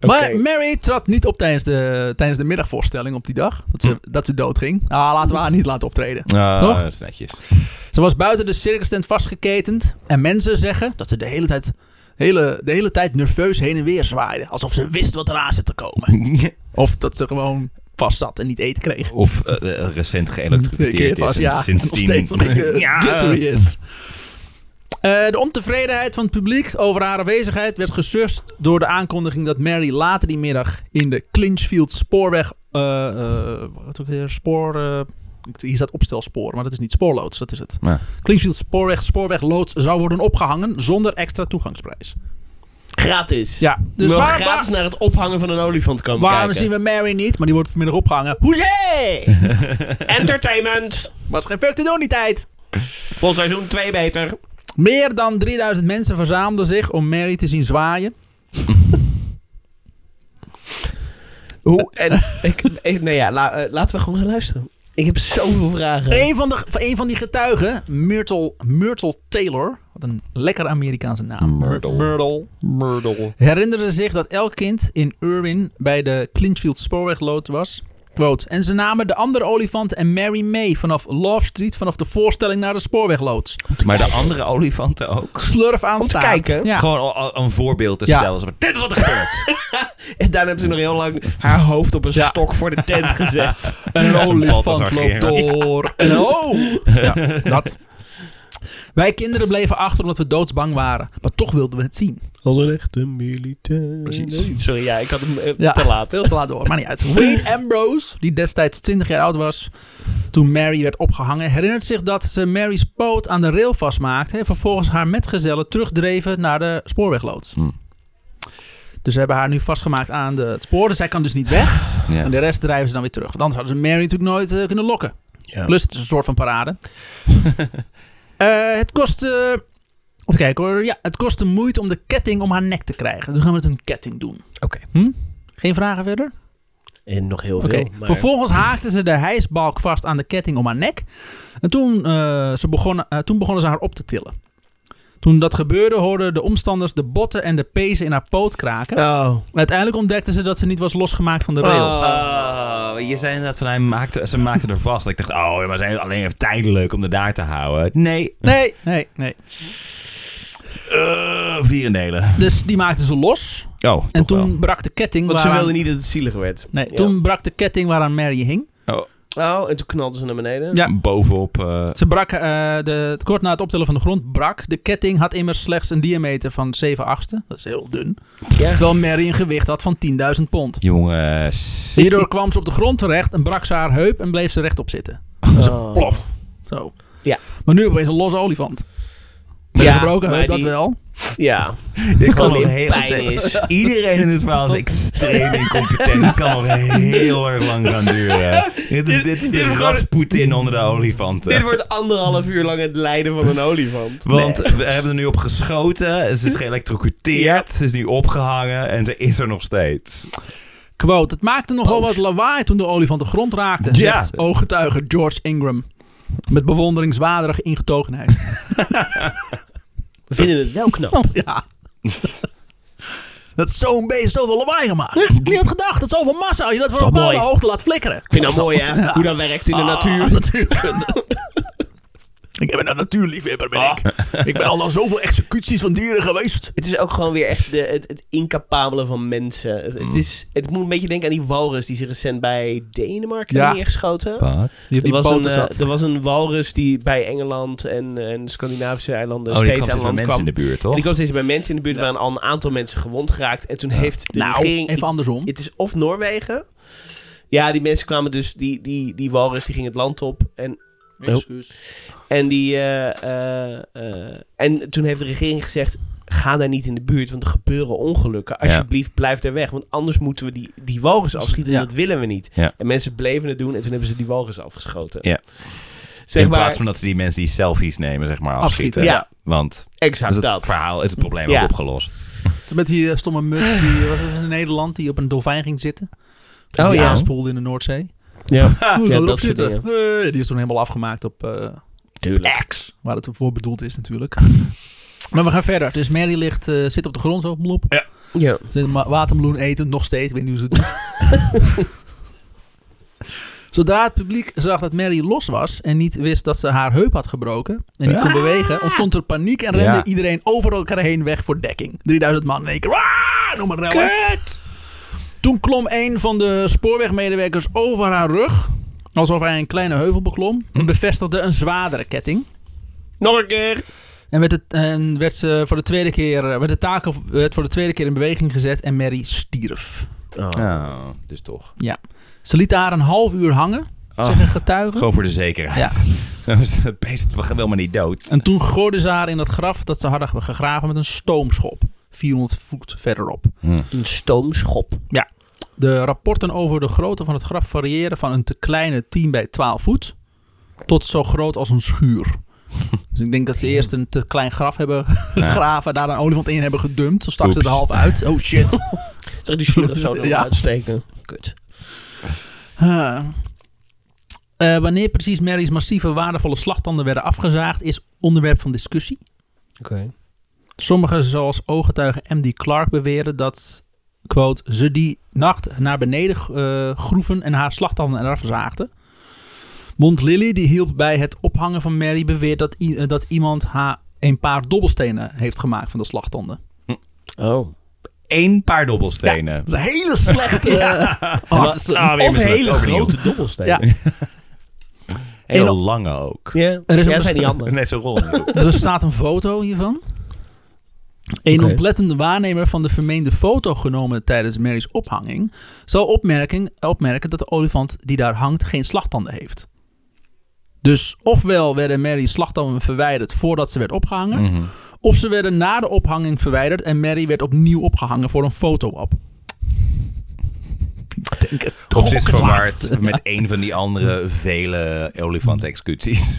B: Hm,
A: Maar Mary trad niet op tijdens de, tijdens de middagvoorstelling op die dag. Dat ze, dat ze doodging. Ah, laten we haar niet laten optreden.
C: Ah,
A: Toch?
C: dat is netjes.
A: Ze was buiten de circus tent vastgeketend. En mensen zeggen dat ze de hele tijd, hele, de hele tijd nerveus heen en weer zwaaide. Alsof ze wist wat eraan zit te komen. Of dat ze gewoon vast zat en niet eten kreeg.
C: Of eh, eh, recent geëlektrocuteerd is.
A: was,
C: en
A: ja, nog
C: sindsdien.
A: steeds eh, een beetje
C: Ja.
A: jittery is. Eh, de ontevredenheid van het publiek over haar aanwezigheid werd gesust door de aankondiging dat Mary later die middag in de Clinchfield spoorweg. eh, eh, wat ook weer? Spoor. eh, ik- hier staat opstelsporen, maar dat is niet spoorloods, dat is het.
C: Ja.
A: Clinchfield spoorweg, spoorwegloods zou worden opgehangen zonder extra toegangsprijs.
B: Gratis.
A: Ja, dus
B: Dus wel
A: waar,
B: gratis
A: waar,
B: naar het ophangen van een olifant komen
A: waarom zien
B: kijken.
A: we Mary niet? Maar die wordt vanmiddag opgehangen. Hoezee!
B: Entertainment.
A: Was geen fuck te doen die tijd!
B: Vol seizoen 2 beter.
A: Meer dan 3000 mensen verzamelden zich om Mary te zien zwaaien.
B: Hoe? En, ik, ik- nou ja, la- eh, laten we gewoon gaan luisteren. Ik heb zoveel vragen.
A: Een van, de, van een van die getuigen, Myrtle, Myrtle Taylor, wat een lekker Amerikaanse naam.
C: Myrtle.
A: Myrtle.
B: Murdel.
A: Herinnerde zich dat elk kind in Irwin bij de Clinchfield spoorweglood was. Quote, en ze namen de andere olifant en Mary mee vanaf Love Street, vanaf de voorstelling naar de spoorwegloods.
C: Maar de andere olifanten ook.
A: Slurf aan
B: te
A: staart.
B: kijken.
A: Ja.
C: Gewoon al- al een voorbeeld te
A: Ja.
C: stellen. Zo van, Dit is wat er gebeurt.
B: En daarna hebben ze nog heel lang haar hoofd op een
A: Ja.
B: stok voor de tent gezet.
A: En een
C: Dat is een
A: olifant
C: Balthazar
A: loopt
C: Gerards.
A: door. En een- oh! Ja, dat. Wij kinderen bleven achter omdat we doodsbang waren. Maar toch wilden we het zien.
B: Als een echte militair.
A: Precies.
B: Sorry, ja, ik had hem eh,
A: Ja.
B: te laat.
A: Veel te laat door, maar niet uit. Wayne Ambrose, die destijds 20 jaar oud was toen Mary werd opgehangen, herinnert zich dat ze Mary's poot aan de rail vastmaakte en vervolgens haar metgezellen terugdreven naar de spoorwegloods.
C: Hmm.
A: Dus ze hebben haar nu vastgemaakt aan de, het spoor, dus zij kan dus niet weg. En de rest drijven ze dan weer terug. Want anders hadden ze Mary natuurlijk nooit eh, kunnen lokken.
B: Ja.
A: Plus, het is een soort van parade. Eh, het kost. eh, even kijken hoor. Ja, het kost de moeite om de ketting om haar nek te krijgen. Dus gaan we het een ketting doen. Oké. Geen vragen verder?
B: En nog heel
A: Oké.
B: veel. maar-
A: Vervolgens haakten ze de hijsbalk vast aan de ketting om haar nek. En toen, eh, ze begonnen, eh, toen begonnen ze haar op te tillen. Toen dat gebeurde, hoorden de omstanders de botten en de pezen in haar poot kraken.
B: Oh.
A: Uiteindelijk ontdekten ze dat ze niet was losgemaakt van de rail.
B: Oh.
C: Oh, je zei inderdaad van hij maakte, ze maakten er vast. Ik dacht, oh, maar ze zijn alleen even tijdelijk om de daar te houden. Nee,
A: Nee, nee, nee.
C: eh, vier in delen.
A: Dus die maakten ze los.
C: Oh,
A: En
C: toch
A: toen brak de ketting
B: Want ze
A: waaraan...
B: wilden niet dat het zielig werd.
A: Nee,
B: Ja.
A: toen brak de ketting waaraan Mary hing.
C: wel. Oh,
B: Oh, en toen knalden ze naar beneden.
A: Ja.
C: ja. Bovenop. eh,
A: Ze brak, eh, de, kort na het optillen van de grond, brak. De ketting had immers slechts een diameter van 7 achtste. Dat is heel dun.
B: Ja.
A: Terwijl Mary een gewicht had van 10.000 pond.
C: jongens.
A: Hierdoor kwam ze op de grond terecht en brak ze haar heup en bleef ze rechtop zitten.
B: Oh.
A: Plof. Zo.
B: Ja.
A: Maar nu opeens een losse olifant. Met
B: Ja,
A: een gebroken
B: maar
A: heup, dat
B: die-
A: wel.
B: Ja.
C: Dit
B: kan nog
C: nog
B: heel-
C: Iedereen in dit verhaal is extreem incompetent. Dit kan nog heel erg lang gaan duren. Dit is, dit is de
B: dit wordt-
C: Rasputin onder de olifanten.
B: Dit wordt anderhalf uur lang het lijden van een olifant.
C: Want we hebben er nu op geschoten. Ze is geëlectrocuteerd. Ze is nu opgehangen. En ze is er nog steeds.
A: Quote, het maakte nogal wat lawaai toen de olifant de grond raakte,
C: Ja.
A: zegt ooggetuige George Ingram. Met bewonderingswaardige ingetogenheid.
B: We vinden het wel knap.
A: ja. dat zo'n beest zoveel lawaai gemaakt. Wie had gedacht dat zoveel massa, als je dat van een
B: toch
A: bepaalde
B: mooi?
A: hoogte laat flikkeren.
B: Ik vind dat mooi, hè? Hoe dat werkt in de
A: Ah,
B: natuur.
A: natuurkunde. ik ben een natuurliefhebber, ben
B: Ah.
A: ik. Ik ben al aan zoveel executies van dieren geweest.
B: Het is ook gewoon weer echt de, het, het incapabele van mensen. Het, het is, het moet een beetje denken aan die walrus die ze recent bij Denemarken
A: Ja.
B: hebben neergeschoten.
C: Wat?
A: Die
B: Er was, een, eh, er was een walrus die bij Engeland en, en Scandinavische eilanden
C: Oh, die
B: steeds
C: kwam steeds
B: aan
C: bij
B: land
C: mensen
B: kwam.
C: in de buurt,
B: En
C: toch?
B: die kwam steeds bij mensen in de buurt. Er waren al een aantal mensen gewond geraakt. En toen heeft de
A: nou,
B: regering...
A: even andersom.
B: Het is of Noorwegen. Ja, die mensen kwamen dus... Die, die, die walrus die ging het land op. En, Oh. en, die, eh, eh, eh, en toen heeft de regering gezegd... Ga daar niet in de buurt, want er gebeuren ongelukken.
C: Ja.
B: Alsjeblieft, blijf daar weg. Want anders moeten we die, die walrus afschieten.
A: Ja.
B: En dat willen we niet.
C: Ja.
B: En mensen bleven het doen. En toen hebben ze die walrus afgeschoten.
C: Ja.
B: Zeg
C: in
B: maar,
C: plaats van dat ze die mensen die selfies nemen, zeg maar, afschieten.
A: Afschieten,
B: ja.
C: Want
B: exact
C: dus het
B: dat.
C: verhaal is het probleem
B: Ja.
C: ook opgelost.
A: Met die eh, stomme muts die was het in Nederland die op een dolfijn ging zitten.
B: Oh,
A: die
B: ja.
A: aanspoelde in de Noordzee.
B: Ja.
A: Hoe
B: ja,
A: zou erop
B: dat soort
A: zitten?
B: dingen.
A: Hey, die is toen helemaal afgemaakt op eh,
B: Tuurlijk.
A: X, waar het voor bedoeld is natuurlijk. Maar we gaan verder. Dus Mary ligt, eh, zit op de grond zo, blop.
B: Ja.
A: Ze is ma- watermeloen eten, nog steeds. Ik weet niet hoe ze het doet. Zodra het publiek zag dat Mary los was en niet wist dat ze haar heup had gebroken en niet kon bewegen, ontstond er paniek en rende
C: Ja.
A: iedereen over elkaar heen weg voor dekking. 3000 man in één keer. "Waa!" Noem maar rellen. Toen klom een van de spoorwegmedewerkers over haar rug, alsof hij een kleine heuvel beklom, en bevestigde een zwaardere ketting.
B: Nog een keer.
A: En werd, het, en werd ze voor de tweede keer, eh, werd de taak of- werd voor de tweede keer in beweging gezet en Mary stierf.
C: Oh, dus toch.
A: Ze liet haar een half uur hangen,
C: Oh,
A: zeggen getuigen.
C: gewoon voor de zekerheid. Het beest was wel maar niet dood.
A: En toen gooiden ze haar in dat graf dat ze hadden gegraven met een stoomschop. 400 voet verderop.
C: Hm,
B: Een stoomschop.
A: De rapporten over de grootte van het graf variëren van een te kleine 10 bij 12 voet tot zo groot als een schuur. Dus ik denk dat ze eerst een te klein graf hebben gegraven, daar een olifant in hebben gedumpt. Zo stak ze het
C: Oeps.
A: half uit. Oh shit.
B: Zeg die slurf zo naar
A: Ja.
B: uitsteken. Kut.
A: Huh. Eh, wanneer precies Mary's massieve waardevolle slachtanden werden afgezaagd, is onderwerp van discussie.
B: Oké.
A: Sommigen, zoals ooggetuige M.D. Clark, beweren dat, quote, ze die nacht naar beneden eh, groeven en haar slachtanden eraf zaagden. Mont Lilly, die hielp bij het ophangen van Mary, beweert dat, i- eh, dat iemand haar een paar dobbelstenen heeft gemaakt van de slachtanden.
B: Oh.
C: Eén paar dobbelstenen.
A: Dat is een hele slechte... eh, artisan.
C: Ah, weer
B: of
C: met z'n
B: hele
C: allen opnieuw.
B: grote dobbelstenen.
A: Ja.
C: Heel
A: En-
C: lange ook.
B: Ja,
A: Er is
B: ja
A: een
B: zijn die handen.
C: Net zo rond.
A: Er staat een foto hiervan. Een
B: Oké.
A: oplettende waarnemer van de vermeende foto genomen tijdens Mary's ophanging zal opmerken, opmerken dat de olifant die daar hangt geen slachtanden heeft. Dus ofwel werden Mary's slachtanden verwijderd voordat ze werd opgehangen,
C: Mm. Mhm.
A: of ze werden na de ophanging verwijderd en Mary werd opnieuw opgehangen voor een foto-op. Ik denk het
C: Of ze is
A: toch laatste.
C: verward met een van die andere vele olifant-executies.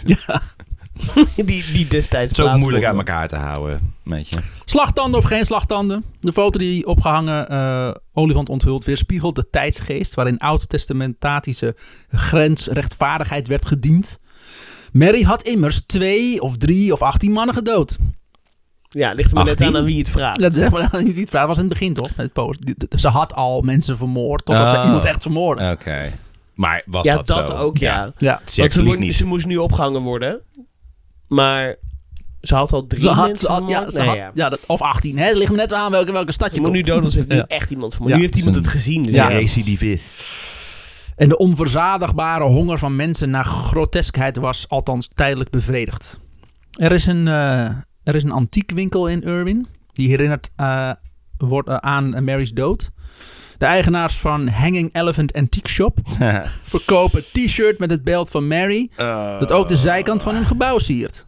B: Die, die destijds
C: Zo moeilijk uit
B: plaatsvonden.
C: elkaar te houden, weet je.
A: Slachtanden of geen slachtanden. De foto die opgehangen eh, olifant onthult weerspiegelt de tijdsgeest waarin oud-testamentatische grensrechtvaardigheid werd gediend. Mary had immers twee of drie of achttien mannen gedood.
B: Ja, ligt er maar net
C: 18.
B: aan aan wie je het vraagt.
A: Dat is helemaal niet het verhaal. Dat was in het begin toch? Met Poos. Ze had al mensen vermoord totdat
C: Oh.
A: ze iemand echt vermoordde.
C: Oké. Maar was
B: ja,
C: dat,
B: dat
C: zo?
B: ook, ja.
A: Ja.
B: Want ze,
C: Zeker
B: wordt-
C: niet.
B: ze moest nu opgehangen worden. Maar ze had al drie
A: Ze had,
B: mensen
A: ze had- ja,
B: vermoord.
A: ze
B: Nee,
A: had,
B: ja.
A: ja, dat, of 18, hè? Het ligt me net aan welke, welke stad je
B: Je moet nu
A: komt.
B: dood, want ze heeft nu
A: Ja.
B: echt iemand vermoord.
A: Ja.
B: nu heeft iemand
C: Zijn-
B: het gezien. Dus
A: Ja.
B: ja.
C: Die recidivist.
A: En de onverzadigbare honger van mensen naar groteskheid was althans tijdelijk bevredigd. Er is een, eh, er is een antiekwinkel in Irwin. Die herinnert eh, wordt, eh, aan eh, Mary's dood. De eigenaars van Hanging Elephant Antique Shop
C: Eh.
A: verkopen een t-shirt met het beeld van Mary. Dat ook de zijkant van hun gebouw siert.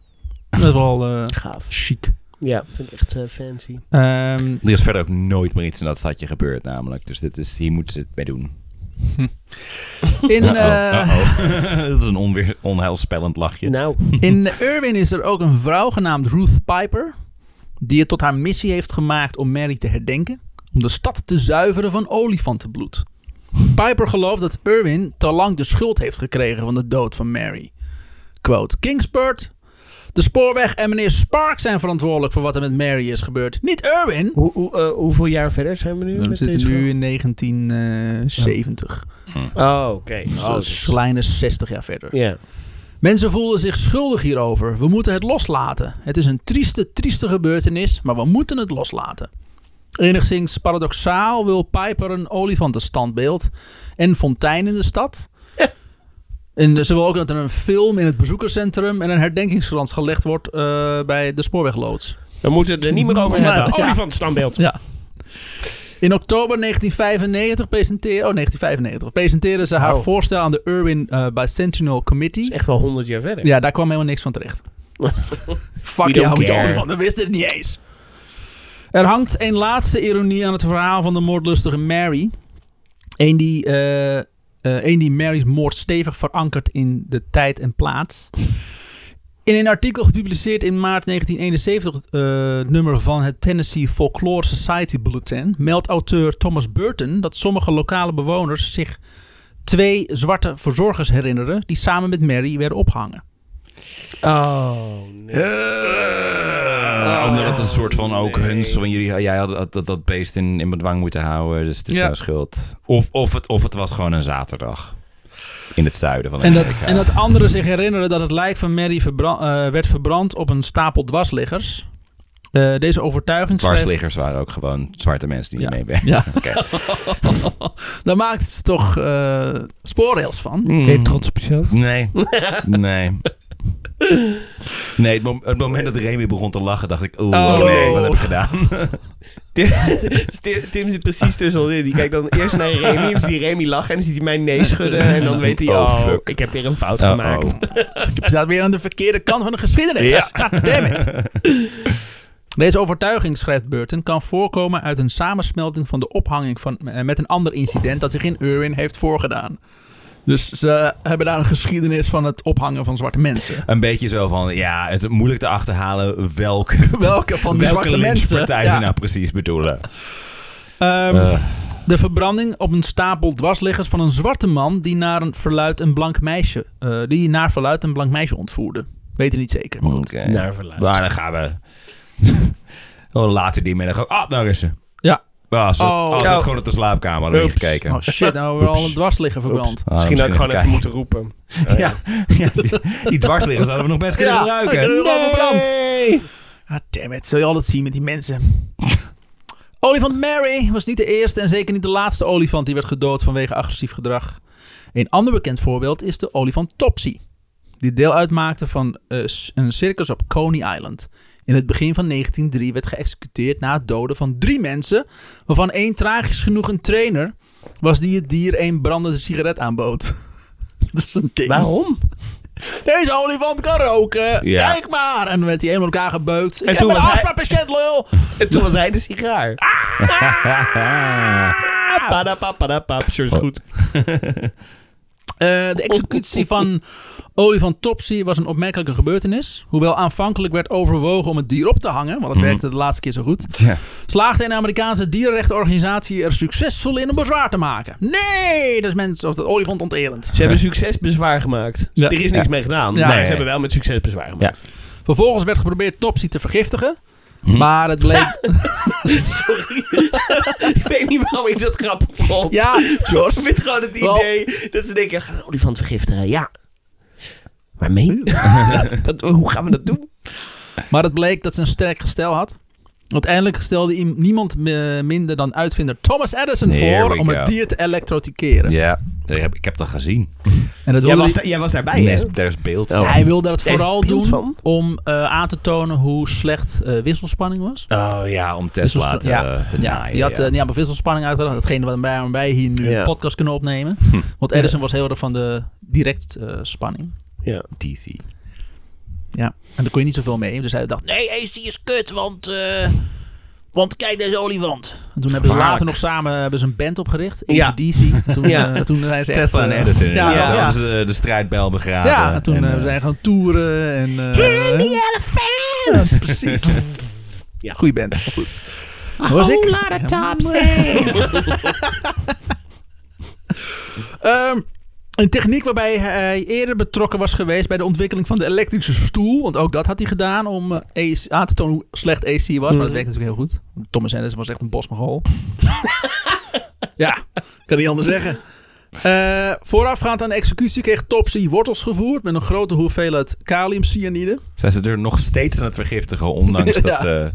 A: Dat is wel eh,
B: Gaaf.
A: chic.
B: Ja, vind ik echt eh, fancy.
A: Ehm,
C: Er is verder ook nooit meer iets in dat stadje gebeurd namelijk. Dus dit is, hier moeten ze het mee doen.
A: in,
C: Uh-oh,
A: eh,
C: uh-oh. dat is een onweer, onheilspellend lachje.
B: Nou,
A: In Irwin is er ook een vrouw genaamd Ruth Piper. Die het tot haar missie heeft gemaakt om Mary te herdenken. Om de stad te zuiveren van olifantenbloed. Piper gelooft dat Irwin te lang de schuld heeft gekregen van de dood van Mary. Quote, Kingsbird, de spoorweg en meneer Spark zijn verantwoordelijk voor wat er met Mary is gebeurd. Niet Irwin!
B: hoe, hoe, eh, hoeveel jaar verder zijn we nu?
A: We
B: met
A: zitten
B: deze
A: nu in eh, 1970.
B: film? Oh, oké. Oh, dit
A: Dus
B: is-
A: een kleine 60 jaar verder.
B: Ja.
A: Mensen voelen zich schuldig hierover. We moeten het loslaten. Het is een trieste, trieste gebeurtenis, maar we moeten het loslaten. Enigszins paradoxaal wil Piper een olifantenstandbeeld en fontein in de stad.
B: Ja.
A: En ze wil ook dat er een film in het bezoekerscentrum en een herdenkingskrans gelegd wordt eh, bij de spoorwegloods.
B: We moeten het er niet meer over
A: Nou,
B: hebben.
A: ja.
B: Olifantstandbeeld.
A: Ja. In oktober 1995 presenteer, oh, 1995, presenteerde ze haar
B: Oh.
A: voorstel aan de Irwin eh, Bicentennial Committee.
B: Dat is echt wel 100 jaar verder.
A: Ja, daar kwam helemaal niks van terecht. Fuck jou,
B: We don't
A: met je
B: care.
A: olifant. We wisten het niet eens. Er hangt een laatste ironie aan het verhaal van de moordlustige Mary. Eén die, eh, eh, een die Mary's moord stevig verankert in de tijd en plaats. In een artikel gepubliceerd in maart 1971, het nummer van het Tennessee Folklore Society Bulletin, meldt auteur Thomas Burton dat sommige lokale bewoners zich twee zwarte verzorgers herinneren die samen met Mary werden opgehangen.
B: Oh, nee.
C: Eh, omdat het een soort van ook
B: nee.
C: hun... Van jullie, jij had dat, dat, dat beest in, in bedwang moeten houden, dus het is
A: Ja.
C: jouw schuld. Of, of, het, of het was gewoon een zaterdag. In het zuiden van
A: En dat,
C: Amerika.
A: en dat anderen zich herinneren dat het lijk van Mary verbra- eh, werd verbrand op een stapel dwarsliggers. Eh, deze overtuiging schreef-
C: Dwarsliggers waren ook gewoon zwarte mensen die
A: Ja.
C: niet meewerken.
A: Ja.
C: Oké.
A: Daar maakt toch eh spoorrails van.
B: op jezelf?
C: Hmm. Nee. Nee. Nee, het, mom- het moment dat Remy begon te lachen, dacht ik... oeh,
B: Oh.
C: Oh nee, wat heb ik gedaan?
B: Tim, Tim- Tim zit precies tussen ons in. Die kijkt dan eerst naar Remy. Dan ziet hij Remy lachen. En dan ziet hij mij nee schudden. En dan weet hij,
C: Oh,
B: oh,
C: fuck.
B: ik heb weer een fout
C: Oh,
B: gemaakt.
A: Je staat weer aan de verkeerde kant van de geschiedenis.
C: Ja.
A: God damn it. Deze overtuiging, schrijft Burton, kan voorkomen uit een samensmelting van de ophanging van, eh, met een ander incident dat zich in Irwin heeft voorgedaan. Dus ze hebben daar een geschiedenis van het ophangen van zwarte mensen.
C: Een beetje zo van, ja, het is moeilijk te achterhalen welke...
A: Welke van die
C: Welke
A: zwarte mensen?
C: lynchpartij
A: Ja.
C: ze nou precies bedoelen?
A: Ehm,
C: Eh.
A: De verbranding op een stapel dwarsliggers van een zwarte man die naar een verluid een blank meisje, eh, die naar verluid een blank meisje ontvoerde. Weet het niet zeker.
C: Oké.
B: Naar verluid.
C: Nou, dan gaan we. Oh, Later die middag ook. Ah, daar is ze.
A: Ja.
C: Ah, ze zat,
A: Oh.
C: ah, ze
B: Ja.
C: zat gewoon op de slaapkamer. Ah, Hadden we niet gekeken.
A: Oh shit, nou hebben we al een dwarsligger verbrand.
C: Ah,
B: misschien had ik gewoon even
C: kijken.
B: moeten roepen. Oh,
C: Ja, ja, die, die dwarsliggers hadden we nog best kunnen
A: Ja,
C: gebruiken.
A: ik heb er al verbrand.
C: Nee.
A: Ah, damn it, zul je altijd zien met die mensen. Olifant Mary was niet de eerste en zeker niet de laatste olifant die werd gedood vanwege agressief gedrag. Een ander bekend voorbeeld is de olifant Topsy, die deel uitmaakte van eh, s- een circus op Coney Island. In het begin van 1903 werd geëxecuteerd na het doden van drie mensen, waarvan één tragisch genoeg een trainer was die het dier een brandende sigaret aanbood. Dat is een ding.
B: Waarom?
A: Deze olifant kan roken.
C: Ja.
A: Kijk maar. En dan werd hij helemaal op elkaar gebeukt. Ik
B: En
A: heb
B: toen
A: een
B: was hij-
A: astma-patiënt, lul.
B: En toen was hij de sigaar. Ah, padapap, padapap. Sure is goed.
A: Eh, de executie van olifant Topsy was een opmerkelijke gebeurtenis. Hoewel aanvankelijk werd overwogen om het dier op te hangen, want
B: Mhm.
A: het werkte de laatste keer zo goed,
C: Tja.
A: slaagde een Amerikaanse dierenrechtenorganisatie er succesvol in om bezwaar te maken. Nee, dat is mensen of dat olifant onterend.
B: Ze hebben succesbezwaar gemaakt.
A: Ja.
B: Er is niks mee gedaan.
A: Ja.
B: maar
C: Nee.
B: ze hebben wel met succes bezwaar gemaakt.
A: Vervolgens werd geprobeerd Topsy te vergiftigen.
B: Mhm.
A: Maar het bleek...
B: Sorry. ik weet niet waarom ik dat grappig vond.
A: Ja,
B: Ik
A: Jos.
B: vind gewoon het
A: Wel-
B: idee dat ze denken, gaan we olifant vergiftigen? Ja. Maar mee? dat, hoe gaan we dat doen?
A: Maar het bleek dat ze een sterk gestel had. Uiteindelijk stelde iem- niemand eh, minder dan uitvinder Thomas Edison
C: There
A: voor
C: we
A: om
C: go.
A: het dier te elektrotikeren.
C: Ja, ik heb, ik heb dat gezien.
A: En dat
B: Jij
A: wilde
B: was,
A: hij,
B: da- jij was daarbij,
C: Er
B: hè?
C: is, er is beeld.
B: Oh.
A: hij wilde dat
B: Heeft
A: vooral
B: beeld
A: doen
B: van?
A: om eh, aan te tonen hoe slecht eh, wisselspanning was.
C: Oh ja, om Tesla te,
A: Dus ja,
C: te
A: ja,
C: naaien,
A: die had
C: ja.
A: eh, niet aan wisselspanning uitgedacht. Hetgene wat wij, waarom wij hier nu
B: Ja.
A: een podcast kunnen opnemen.
C: Hm.
A: Want Edison was heel erg van de direct eh, spanning.
B: Ja.
C: DC.
A: Ja. En daar kon je niet zoveel mee. Dus hij dacht, nee, AC is kut, want... eh, want kijk deze olifant. En toen hebben ze
C: Gevaarlijk.
A: later nog samen hebben ze een band opgericht.
B: Ja.
A: Ja. DC. En toen,
B: Ja.
A: eh, toen zijn ze
C: Tesla
A: echt,
C: en
A: eh,
C: Edison.
A: Ja,
C: Ja,
A: ja.
C: Dat is de, de strijdbel begraven.
A: Ja, en toen
C: En,
A: eh, we
C: eh,
A: zijn gewoon toeren en... eh, Ja, precies.
B: Ja.
A: Goeie band. Goed. Was ik? Ehm, een techniek waarbij hij eerder betrokken was geweest bij de ontwikkeling van de elektrische stoel. Want ook dat had hij gedaan om eh, AC aan te tonen hoe slecht AC was. Maar dat
B: Mhm.
A: werkt natuurlijk heel goed. Thomas Anderson was echt een bosmogol. ja, kan niet anders zeggen. Eh, voorafgaand aan de executie kreeg Topsy wortels gevoerd met een grote hoeveelheid kaliumcyanide.
C: Zijn ze er nog steeds aan het vergiftigen, ondanks dat
A: Ja.
C: ze...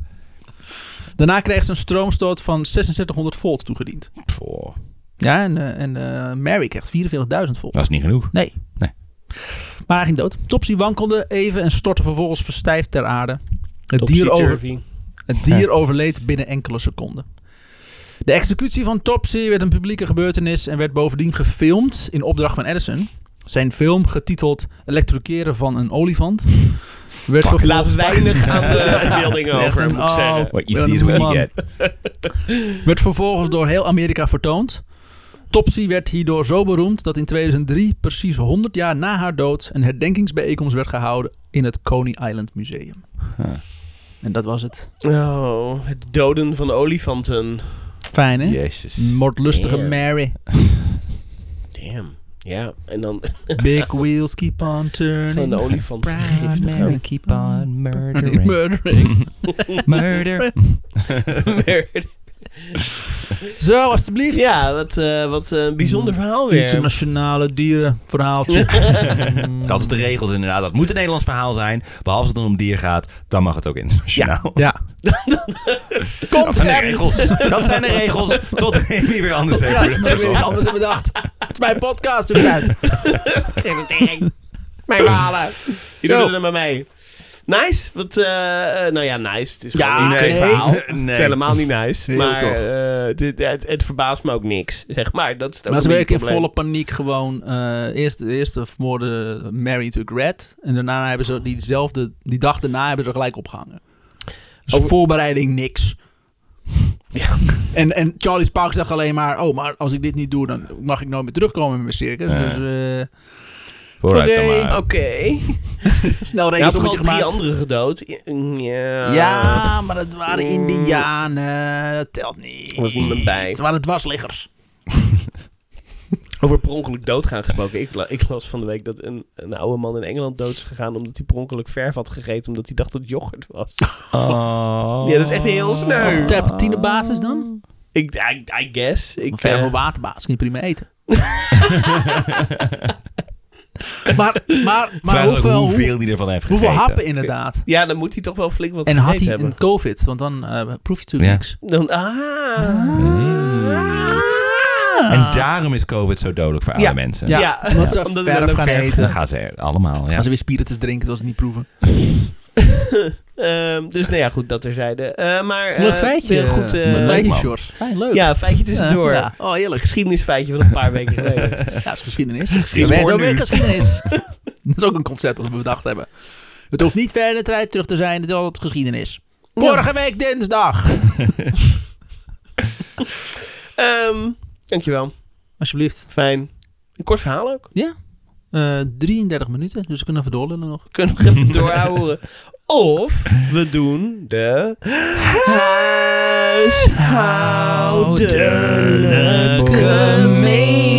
A: Daarna kreeg ze een stroomstoot van 6600 volt toegediend.
C: Pff, oh.
A: Ja, en, eh, en eh, Mary krijgt 44.000 volt.
C: dat is niet genoeg.
A: Nee.
C: Nee.
A: Maar hij ging dood. Topsy wankelde even en stortte vervolgens verstijfd ter aarde. Het dier, over,
B: Topsy-turvy.
A: het dier overleed binnen enkele seconden. De executie van Topsy werd een publieke gebeurtenis en werd bovendien gefilmd in opdracht van Edison. Zijn film, getiteld Elektrokeren van een olifant, werd
C: Fuck.
A: vervolgens-
B: Laat weinig aan de verbeelding
A: Echt
B: over,
A: een-
B: moet ik
A: oh,
B: zeggen.
C: What you
A: Wel
C: see is
A: een
C: what you
A: man.
C: get.
A: werd vervolgens door heel Amerika vertoond. Topsy werd hierdoor zo beroemd dat in 2003, precies 100 jaar na haar dood, een herdenkingsbijeenkomst werd gehouden in het Coney Island Museum.
C: Huh.
A: En dat was het.
B: Oh, het doden van olifanten.
A: Fijn, hè?
C: Jezus.
A: Moordlustige
B: Yeah.
A: Mary.
B: Damn. Ja, en dan
A: Big wheels keep on
B: van
A: turning.
B: de olifant vergiftigen.
C: keep on
A: Murdering.
C: Murder.
A: Zo, alstublieft.
B: Ja, wat, eh, wat eh, een bijzonder verhaal weer.
A: Internationale dierenverhaaltje. Mm.
C: Dat is de regels inderdaad. Dat moet een Nederlands verhaal zijn. Behalve als het dan om dier gaat, dan mag het ook internationaal.
A: Ja.
C: Dat zijn de regels. Dat zijn de regels. Tot Amy weer anders heeft.
A: Ja,
C: voor
A: ik
C: de
A: heb weer iets
C: verzonnen.
A: anders in bedacht. Het is mijn podcast, doe het uit.
B: Mijn verhalen. Je
A: Zo.
B: doet er maar mee. Nice. Wat, eh, eh, nou ja, nice. Het is
A: Ja,
B: gewoon een
A: nee.
B: kut verhaal.
C: Nee.
B: Het is helemaal niet nice.
A: Heel
B: maar
A: toch.
B: eh, dit- het, het verbaast me ook niks, zeg maar. Dat is het ook
A: Maar ze
B: een
A: werken in
B: probleem.
A: volle paniek gewoon. eh eerst, eerst vermoorden Mary to Red. En daarna hebben ze diezelfde, die dag daarna hebben ze gelijk opgehangen. Dus
B: Over-
A: voorbereiding niks.
B: Ja.
A: En, en Charlie Sparks dacht alleen maar... Oh, maar als ik dit niet doe, dan mag ik nooit meer terugkomen met mijn circus.
C: Ja.
A: Dus eh,
C: Vooruit dan
A: Oké,
C: maar.
B: Oké.
A: snel
B: Je had toch
A: rekensommetje
B: al drie eh,
A: gemaakt.
B: anderen gedood? Ja.
A: Ja, maar dat waren
B: Mm.
A: Indianen. Dat telt niet.
B: Was niemand bij.
A: Het waren dwarsliggers.
B: Over per ongeluk doodgaan gesproken. Ik, la- ik las van de week dat een, een oude man in Engeland dood is gegaan... omdat hij per ongeluk verf had gegeten... omdat hij dacht dat het yoghurt was.
C: Oh.
B: Ja, dat is echt heel sneu.
A: Op terpentinebasis dan?
B: ik, I, I guess. Ik,
A: Ik verder
B: eh,
A: op waterbaas kun je prima eten. maar maar, maar
C: Vraag ook
A: hoeveel, hoeveel,
C: hoeveel die ervan heeft gegeten.
A: hoeveel happen inderdaad?
B: ja, dan moet hij toch wel flink wat
A: En had
B: gegeten
A: hij
B: hebben.
A: een COVID? Want dan eh, proef je natuurlijk
C: Ja.
A: niks.
B: Dan, ah.
C: En daarom is COVID zo dodelijk voor oude
B: Ja.
C: mensen.
A: Ja,
B: Ja,
A: omdat ze
B: omdat we
A: verf
B: dan
A: gaan
B: verf-
A: eten.
C: Dan gaan ze er allemaal, ja.
A: Als ze weer spiritus drinken, dat ze het niet proeven.
B: Ehm, dus nou ja, goed, dat terzijde. Eh maar, eh,
A: Leuk feitje.
B: weer Goed, eh,
A: Leuk
C: leuk,
A: feitje,
C: man.
A: Sjors. Fijn, leuk.
B: ja, feitje tussendoor.
A: Ja. Oh, heerlijk.
B: Geschiedenisfeitje van een paar weken geleden.
A: Ja, is geschiedenis.
C: Geschiedenis.
A: Wij zijn
C: Voor
A: ook weer
C: nu.
A: geschiedenis. dat is ook een concept wat we bedacht hebben. Het hoeft niet verder in de tijd terug te zijn, het is altijd geschiedenis. Vorige week dinsdag.
B: Ehm, dankjewel.
A: Alsjeblieft.
B: Fijn. Een kort verhaal ook.
A: Eh, 33 minuten, dus we kunnen even doorlullen nog.
B: Kunnen we nog even doorhouden. Of we doen de
A: Oh.
B: huishoudelijke mededelingen.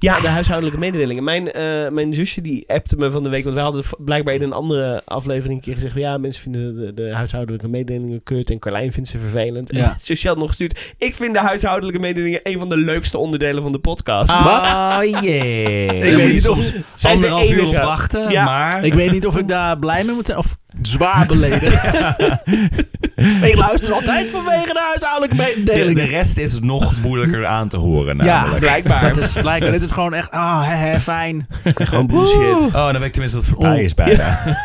B: Ja, de huishoudelijke mededelingen. Mijn, eh, mijn zusje die appte me van de week. Want we hadden v- blijkbaar in een andere aflevering een keer gezegd... van, ja, mensen vinden de, de huishoudelijke mededelingen kut... en Carlijn vindt ze vervelend.
A: Ja.
B: En zusje had nog gestuurd... ik vind de huishoudelijke mededelingen... een van de leukste onderdelen van de podcast.
A: Oh,
C: Ah, jee.
A: Ik weet niet of,
B: Zij is de
C: Anderhalf uur op
B: enige.
C: wachten,
B: Ja.
C: maar...
A: ik weet niet of ik daar blij mee moet zijn of zwaar beledigd. ik luister altijd vanwege de nou, huishoudelijke
C: de, de
A: mededelingen.
C: rest is nog moeilijker aan te horen
A: Ja,
C: namelijk.
A: blijkbaar. Dat is blijkbaar. Dit is gewoon echt, ah, hè, hè, fijn.
B: Gewoon bullshit.
C: Oh, dan weet ik tenminste dat het voorbij
A: Oh.
C: is bijna.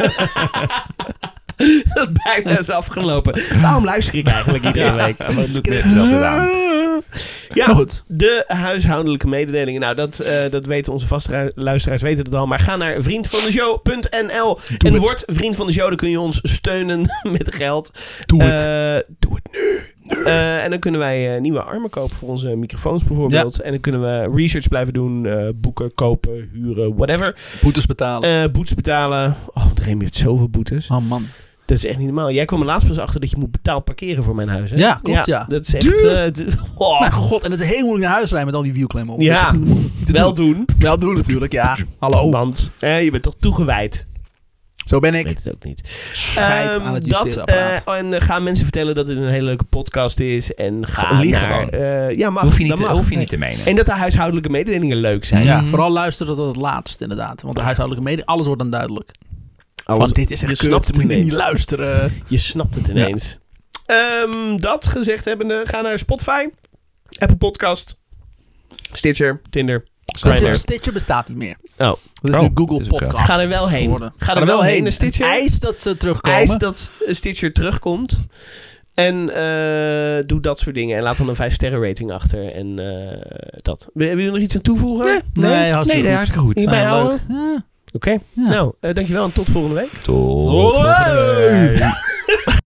B: Dat bijna is afgelopen. Waarom luister ik eigenlijk iedere
C: Ja,
B: week?
C: wat doet me hetzelfde aan?
B: Ja,
A: Maar Nou goed.
B: De huishoudelijke mededelingen. Nou, dat, eh, dat weten onze vaste luisteraars weten het al. Maar ga naar vriendvandeshow.nl en
A: het.
B: word vriend van de show. Dan kun je ons steunen met geld.
A: Doe het.
B: Eh, doe het nu. Eh, en dan kunnen wij eh, nieuwe armen kopen voor onze microfoons bijvoorbeeld. En dan kunnen we research blijven doen. eh, boeken kopen, huren, whatever.
A: Boetes betalen.
B: Eh boetes betalen. Oh, want Remy heeft zoveel boetes.
A: oh man.
B: Dat is echt niet normaal. Jij kwam er laatst pas achter dat je moet betaald parkeren voor mijn huis, hè?
A: Ja, klopt, ja.
B: Dat is echt...
A: Duur.
B: eh, du- oh,
A: Mijn god, en het is heel moeilijk naar huis rijden met al die wielklemmen op.
B: Ja.
A: Dat is echt-
B: wel doen.
A: Wel doen natuurlijk, ja. Hallo.
B: Want eh, je bent toch toegewijd.
A: Zo ben
B: Ik
A: ik.
B: weet het ook niet.
A: Scheid
B: Ehm,
A: aan het
B: dat,
A: justeerapparaat.
B: eh, en eh, ga mensen vertellen dat dit een hele leuke podcast is. En ga
C: Lieg
B: naar...
C: gewoon.
B: eh, ja, mag.
C: hoef je niet,
B: dat
C: te,
B: mag.
C: hoef je niet te menen.
B: En dat de huishoudelijke mededelingen leuk zijn.
A: ja,
C: Mhm.
A: vooral luisteren tot het laatst inderdaad. Want de huishoudelijke mede, alles wordt dan duidelijk.
B: Alles-
A: Want dit is
B: je
A: echt
B: snapt
A: kut,
B: het
A: moet je
B: ineens.
A: niet luisteren.
B: Je snapt het ineens. Ehm, dat gezegd hebbende, ga naar Spotify, Apple Podcast, Stitcher, Tinder,
A: Stitcher,
B: Grindr.
A: Stitcher bestaat niet meer.
B: Oh.
A: Dat is
C: Oh,
A: nu Google
C: het is ook
A: Podcast.
B: Ga er wel heen.
A: geworden.
B: Ga er wel heen, de Stitcher.
A: Eis dat ze terugkomen.
B: Eis dat Stitcher terugkomt. En eh, doe dat soort dingen. En laat dan een 5 sterren rating achter. En eh, dat. Wil- Hebben jullie nog iets aan toevoegen?
A: Nee, hartstikke goed.
C: hartstikke goed.
B: Hierbij
A: Nou,
B: houden.
A: leuk. Ja.
B: Oké. Nou, eh, dankjewel en tot volgende week.
C: Tot volgende
B: Hoi!
C: week.